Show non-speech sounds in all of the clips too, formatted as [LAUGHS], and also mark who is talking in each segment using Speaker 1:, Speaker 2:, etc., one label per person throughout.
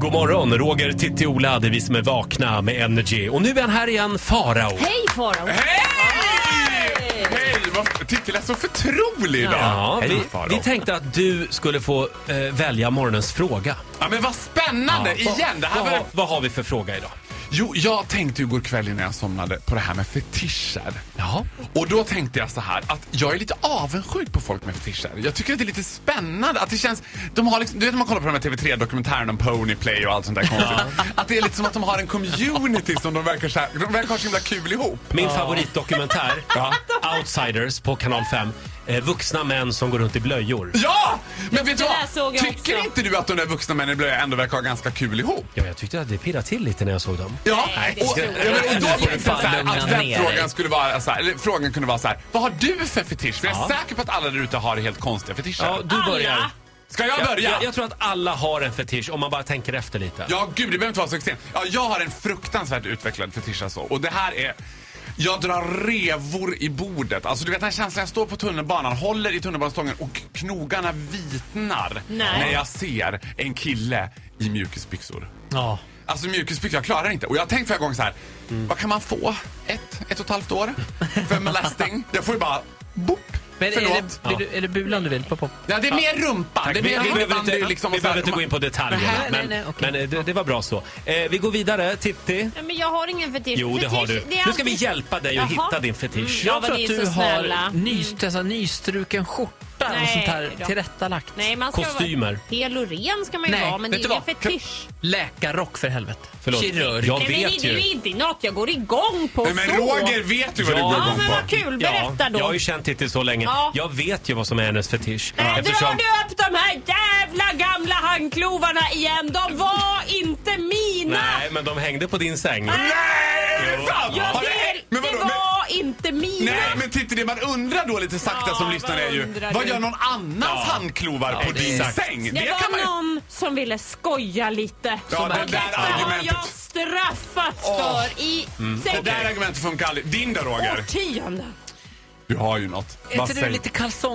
Speaker 1: God morgon, Roger, Titti, Ola, det är vi som är vakna med Energy. Och nu är han här igen, Farao.
Speaker 2: Hej Farao!
Speaker 1: Äh?
Speaker 3: Hej! Hej! Vad- Titti lät så förtrolig idag.
Speaker 1: Ja,
Speaker 3: Hej,
Speaker 1: vi,
Speaker 3: Faro.
Speaker 1: vi tänkte att du skulle få eh, välja morgonens fråga.
Speaker 3: ja, men vad spännande!
Speaker 1: Ja,
Speaker 3: Igen, det här
Speaker 1: vad,
Speaker 3: var...
Speaker 1: vad, vad har vi för fråga idag?
Speaker 3: Jo, jag tänkte ju igår kväll innan jag somnade på det här med fetischer.
Speaker 1: Jaha.
Speaker 3: Och då tänkte jag så här att jag är lite avundsjuk på folk med fetischer. Jag tycker att det är lite spännande att det känns... De har liksom, du vet när man kollar på de här TV3-dokumentärerna om Ponyplay och allt sånt där konstigt. att det är lite som att de har en community som de verkar, så här, de verkar ha så himla kul ihop.
Speaker 1: Min
Speaker 3: [LAUGHS]
Speaker 1: favoritdokumentär, Outsiders på kanal 5. Eh, vuxna män som går runt i blöjor.
Speaker 3: Ja! Men vet du
Speaker 2: Det där såg
Speaker 3: vad?
Speaker 2: jag
Speaker 3: Tycker
Speaker 2: också.
Speaker 3: inte du att de där vuxna männen i blöja ändå verkar ha ganska kul ihop?
Speaker 1: Ja, jag tyckte att det pirrade till lite när jag såg dem.
Speaker 3: Ja,
Speaker 2: Nej, det
Speaker 3: och, ja,
Speaker 2: tror jag
Speaker 3: men, och
Speaker 4: inte.
Speaker 3: då
Speaker 4: Nu får du
Speaker 3: tänkte jag så här,
Speaker 4: fan
Speaker 3: att
Speaker 4: lugna
Speaker 3: den
Speaker 4: ner
Speaker 3: frågan
Speaker 4: dig.
Speaker 3: skulle vara så här, eller frågan kunde vara så här, vad har du för fetisch? För jag är
Speaker 1: Ja.
Speaker 3: säker på att alla där ute har helt konstiga fetischer.
Speaker 1: Ja, du börjar.
Speaker 2: Alla.
Speaker 3: Ska jag
Speaker 1: Jag,
Speaker 3: börja?
Speaker 1: jag, jag tror att alla har en fetisch om man bara tänker efter lite.
Speaker 3: Ja, gud, det behöver inte vara så extremt. Ja, jag har en fruktansvärt utvecklad fetisch alltså. Och det här är... Jag drar revor i bordet. Alltså du vet den här känslan, jag står på tunnelbanan, håller i tunnelbanestången och knogarna vitnar
Speaker 2: Nej.
Speaker 3: när jag ser en kille i mjukisbyxor.
Speaker 4: Ja.
Speaker 3: Alltså mjukisbyxor, jag klarar inte. Och jag har tänkt flera gånger så här, vad kan man få? Ett, ett och ett halvt år? För en molesting? Jag får ju bara, boop!
Speaker 4: Men är
Speaker 3: Förlåt.
Speaker 4: det, är, det, är det bulan du vill på? på?
Speaker 3: Ja, det är mer rumpan. Det är
Speaker 1: Vi, vi,
Speaker 3: mer
Speaker 1: behöver
Speaker 3: rumpan.
Speaker 1: inte,
Speaker 3: Det är liksom
Speaker 1: vi
Speaker 3: så här-
Speaker 1: behöver inte gå in på detaljerna,
Speaker 3: Nej,
Speaker 1: men,
Speaker 4: nej, nej, okej.
Speaker 1: men eh, det, det var bra så. Eh, vi går vidare. Titti?
Speaker 2: Nej, Men jag har ingen fetisch.
Speaker 1: Jo, det
Speaker 2: fetisch,
Speaker 1: har du.
Speaker 2: det är
Speaker 1: Nu ska vi
Speaker 2: alltid-
Speaker 1: hjälpa dig att
Speaker 2: Jaha.
Speaker 1: hitta din fetisch.
Speaker 2: Mm, ja,
Speaker 4: Jag tror
Speaker 2: men
Speaker 4: att
Speaker 2: ni är
Speaker 4: du
Speaker 2: så snälla.
Speaker 4: har ny, alltså, nystruken skjorta och
Speaker 2: Nej
Speaker 4: sånt här
Speaker 2: då.
Speaker 4: tillrättalagt.
Speaker 2: Nej, man ska
Speaker 1: Kostymer.
Speaker 2: Vara, hel och ren ska man ju
Speaker 4: Nej,
Speaker 2: vara, men det
Speaker 4: vet
Speaker 2: är
Speaker 4: du
Speaker 2: ingen
Speaker 4: vad?
Speaker 2: fetisch.
Speaker 4: Läkarrock för helvete.
Speaker 1: Förlåt.
Speaker 4: Kirurg.
Speaker 1: Jag
Speaker 2: Nej, men
Speaker 1: vet
Speaker 2: det är ju
Speaker 1: ju.
Speaker 2: inte något jag går igång på
Speaker 3: Nej, men
Speaker 2: så.
Speaker 3: Roger vet ju
Speaker 1: Ja.
Speaker 3: vad du går
Speaker 2: Ja,
Speaker 3: igång
Speaker 2: men
Speaker 3: på.
Speaker 2: vad kul.
Speaker 1: Ja,
Speaker 2: Berätta då.
Speaker 1: jag har ju känt Titti så länge.
Speaker 2: Ja.
Speaker 1: Jag vet ju vad som är hennes fetisch.
Speaker 2: Nej,
Speaker 1: Eftersom,
Speaker 2: drar du upp de här jävla gamla handklovarna igen? De var inte mina!
Speaker 1: nej, men de hängde på din säng.
Speaker 3: Nej, är
Speaker 1: Jo.
Speaker 3: det sant?
Speaker 2: Jag
Speaker 3: Har det
Speaker 2: vill,
Speaker 3: hänt? men
Speaker 2: det
Speaker 3: vadå? Men,
Speaker 2: var inte mina!
Speaker 3: nej, men titta det man undrar då lite sakta
Speaker 2: Ja,
Speaker 3: som
Speaker 2: vad
Speaker 3: lyssnare är ju,
Speaker 2: undrar
Speaker 3: vad
Speaker 2: du?
Speaker 3: gör någon annans handklovar på
Speaker 1: det
Speaker 3: din
Speaker 1: är-
Speaker 3: säng?
Speaker 2: det, var
Speaker 3: ju...
Speaker 2: någon som ville skoja lite.
Speaker 3: Ja, det
Speaker 2: Detta
Speaker 3: där
Speaker 2: har jag
Speaker 3: argumentet.
Speaker 2: straffats
Speaker 3: Åh. Mm.
Speaker 2: för i
Speaker 3: Det där
Speaker 2: säkert
Speaker 3: argumentet funkar aldrig. Din då Roger?
Speaker 2: årtionden.
Speaker 3: Du har ju något.
Speaker 4: Är inte du lite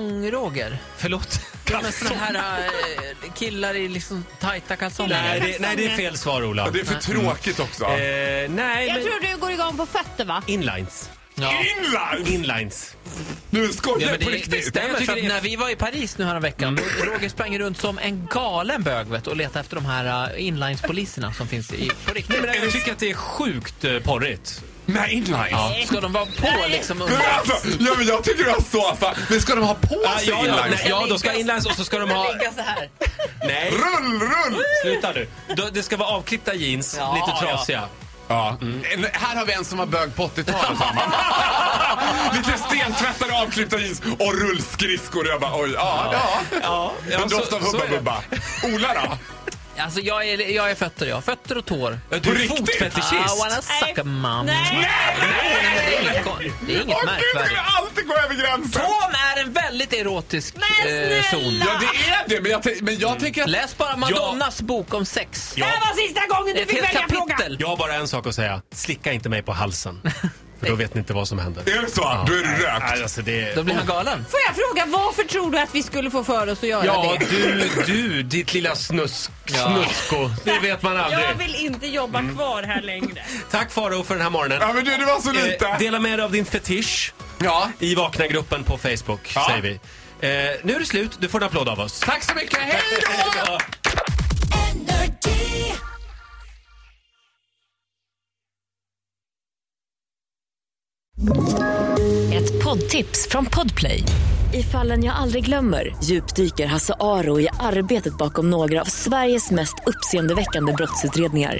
Speaker 4: kalsongroger?
Speaker 1: Förlåt.
Speaker 4: Ja, men såna här eh, killar i liksom tajta kalsonger.
Speaker 1: Nej det, nej, det är fel svar, Ola.
Speaker 3: Ja, Det är för tråkigt också.
Speaker 1: Eh, nej,
Speaker 2: Jag
Speaker 1: men
Speaker 2: tror du går igång på fötter va?
Speaker 1: inlines.
Speaker 4: Ja.
Speaker 3: Inline!
Speaker 1: Inlines.
Speaker 3: Nu skojar
Speaker 4: Ja,
Speaker 3: du på
Speaker 4: men det, det Mm.
Speaker 3: riktigt?
Speaker 4: stämmer,
Speaker 1: Jag tycker
Speaker 4: för att
Speaker 1: det är-
Speaker 4: när vi var i Paris nu häromveckan, då Roger sprang runt som en galen bög vet, du, och letade efter de här uh, inlinespoliserna som finns i, på riktigt.
Speaker 1: Men jag tycker att det är sjukt eh, porrigt.
Speaker 3: Nej, inline.
Speaker 4: Ja. Ska de vara på liksom
Speaker 3: Men
Speaker 4: under?
Speaker 3: alltså, ja, men jag tycker du har så fa- Men ska de ha på
Speaker 1: Ja,
Speaker 3: sig
Speaker 1: ja, ja,
Speaker 3: inline?
Speaker 1: nej, ja, då ska Alltså, inlines och så ska de ha...
Speaker 4: Ligga så här.
Speaker 1: Nej,
Speaker 3: Rull, rull!
Speaker 1: sluta nu. Då- Det ska vara avklippta jeans,
Speaker 4: Ja,
Speaker 1: lite
Speaker 4: ja.
Speaker 1: trasiga.
Speaker 3: Ja. En, här har vi en som var bög på 80-talet. sa man. [LAUGHS] Lite stentvättade, avklippta jeans och rullskridskor. Jag bara oj, ja, ja.
Speaker 1: Ja, ja,
Speaker 3: En doft
Speaker 1: så-
Speaker 3: av
Speaker 1: så
Speaker 3: Hubba
Speaker 1: är det.
Speaker 3: Bubba. Ola då?
Speaker 4: Alltså jag är, jag är fötter jag. Fötter och tår.
Speaker 3: På
Speaker 1: Du är
Speaker 3: riktigt? Ah,
Speaker 4: I wanna
Speaker 1: fotfetischist.
Speaker 4: suck a mum.
Speaker 2: Nej!
Speaker 4: Det är inget, kon- det är inget
Speaker 3: Åh gud, ska
Speaker 4: märkvärdigt.
Speaker 3: det alltid gå över gränsen?
Speaker 4: Tån är en väldigt erotisk
Speaker 2: Men
Speaker 4: eh, zon.
Speaker 2: snälla!
Speaker 3: Ja, det är det, men jag, tänk- men jag tänker att...
Speaker 4: Läs bara Madonnas bok om sex.
Speaker 2: Det här var sista gången du
Speaker 4: Ett
Speaker 2: fick
Speaker 4: helt
Speaker 2: välja fråga!
Speaker 4: kapitel.
Speaker 1: Jag har bara en sak att säga. Slicka inte mig på halsen. För då vet ni inte vad som händer.
Speaker 3: Är det så? Då är det rökt.
Speaker 1: Nej, Alltså, det...
Speaker 4: Då blir han galen.
Speaker 2: Får jag fråga, varför tror du att vi skulle få för oss att göra
Speaker 1: Ja,
Speaker 2: det?
Speaker 1: du, du, ditt lilla snusk, snusko. Det vet man
Speaker 2: Jag
Speaker 1: aldrig.
Speaker 2: vill inte jobba kvar här längre.
Speaker 1: Tack Faro för den här morgonen.
Speaker 3: Ja, men du, det var så
Speaker 1: Eh,
Speaker 3: lite.
Speaker 1: dela med dig av din fetisch
Speaker 3: Ja.
Speaker 1: i Vakna-gruppen på Facebook,
Speaker 3: Ja.
Speaker 1: säger vi. Eh, nu är det slut. Du får en applåd av oss.
Speaker 3: Tack så mycket, hej då!
Speaker 1: Ja.
Speaker 5: Ett poddtips från Podplay. I fallen jag aldrig glömmer djupdyker Hasse Aro i arbetet bakom några av Sveriges mest uppseendeväckande brottsutredningar.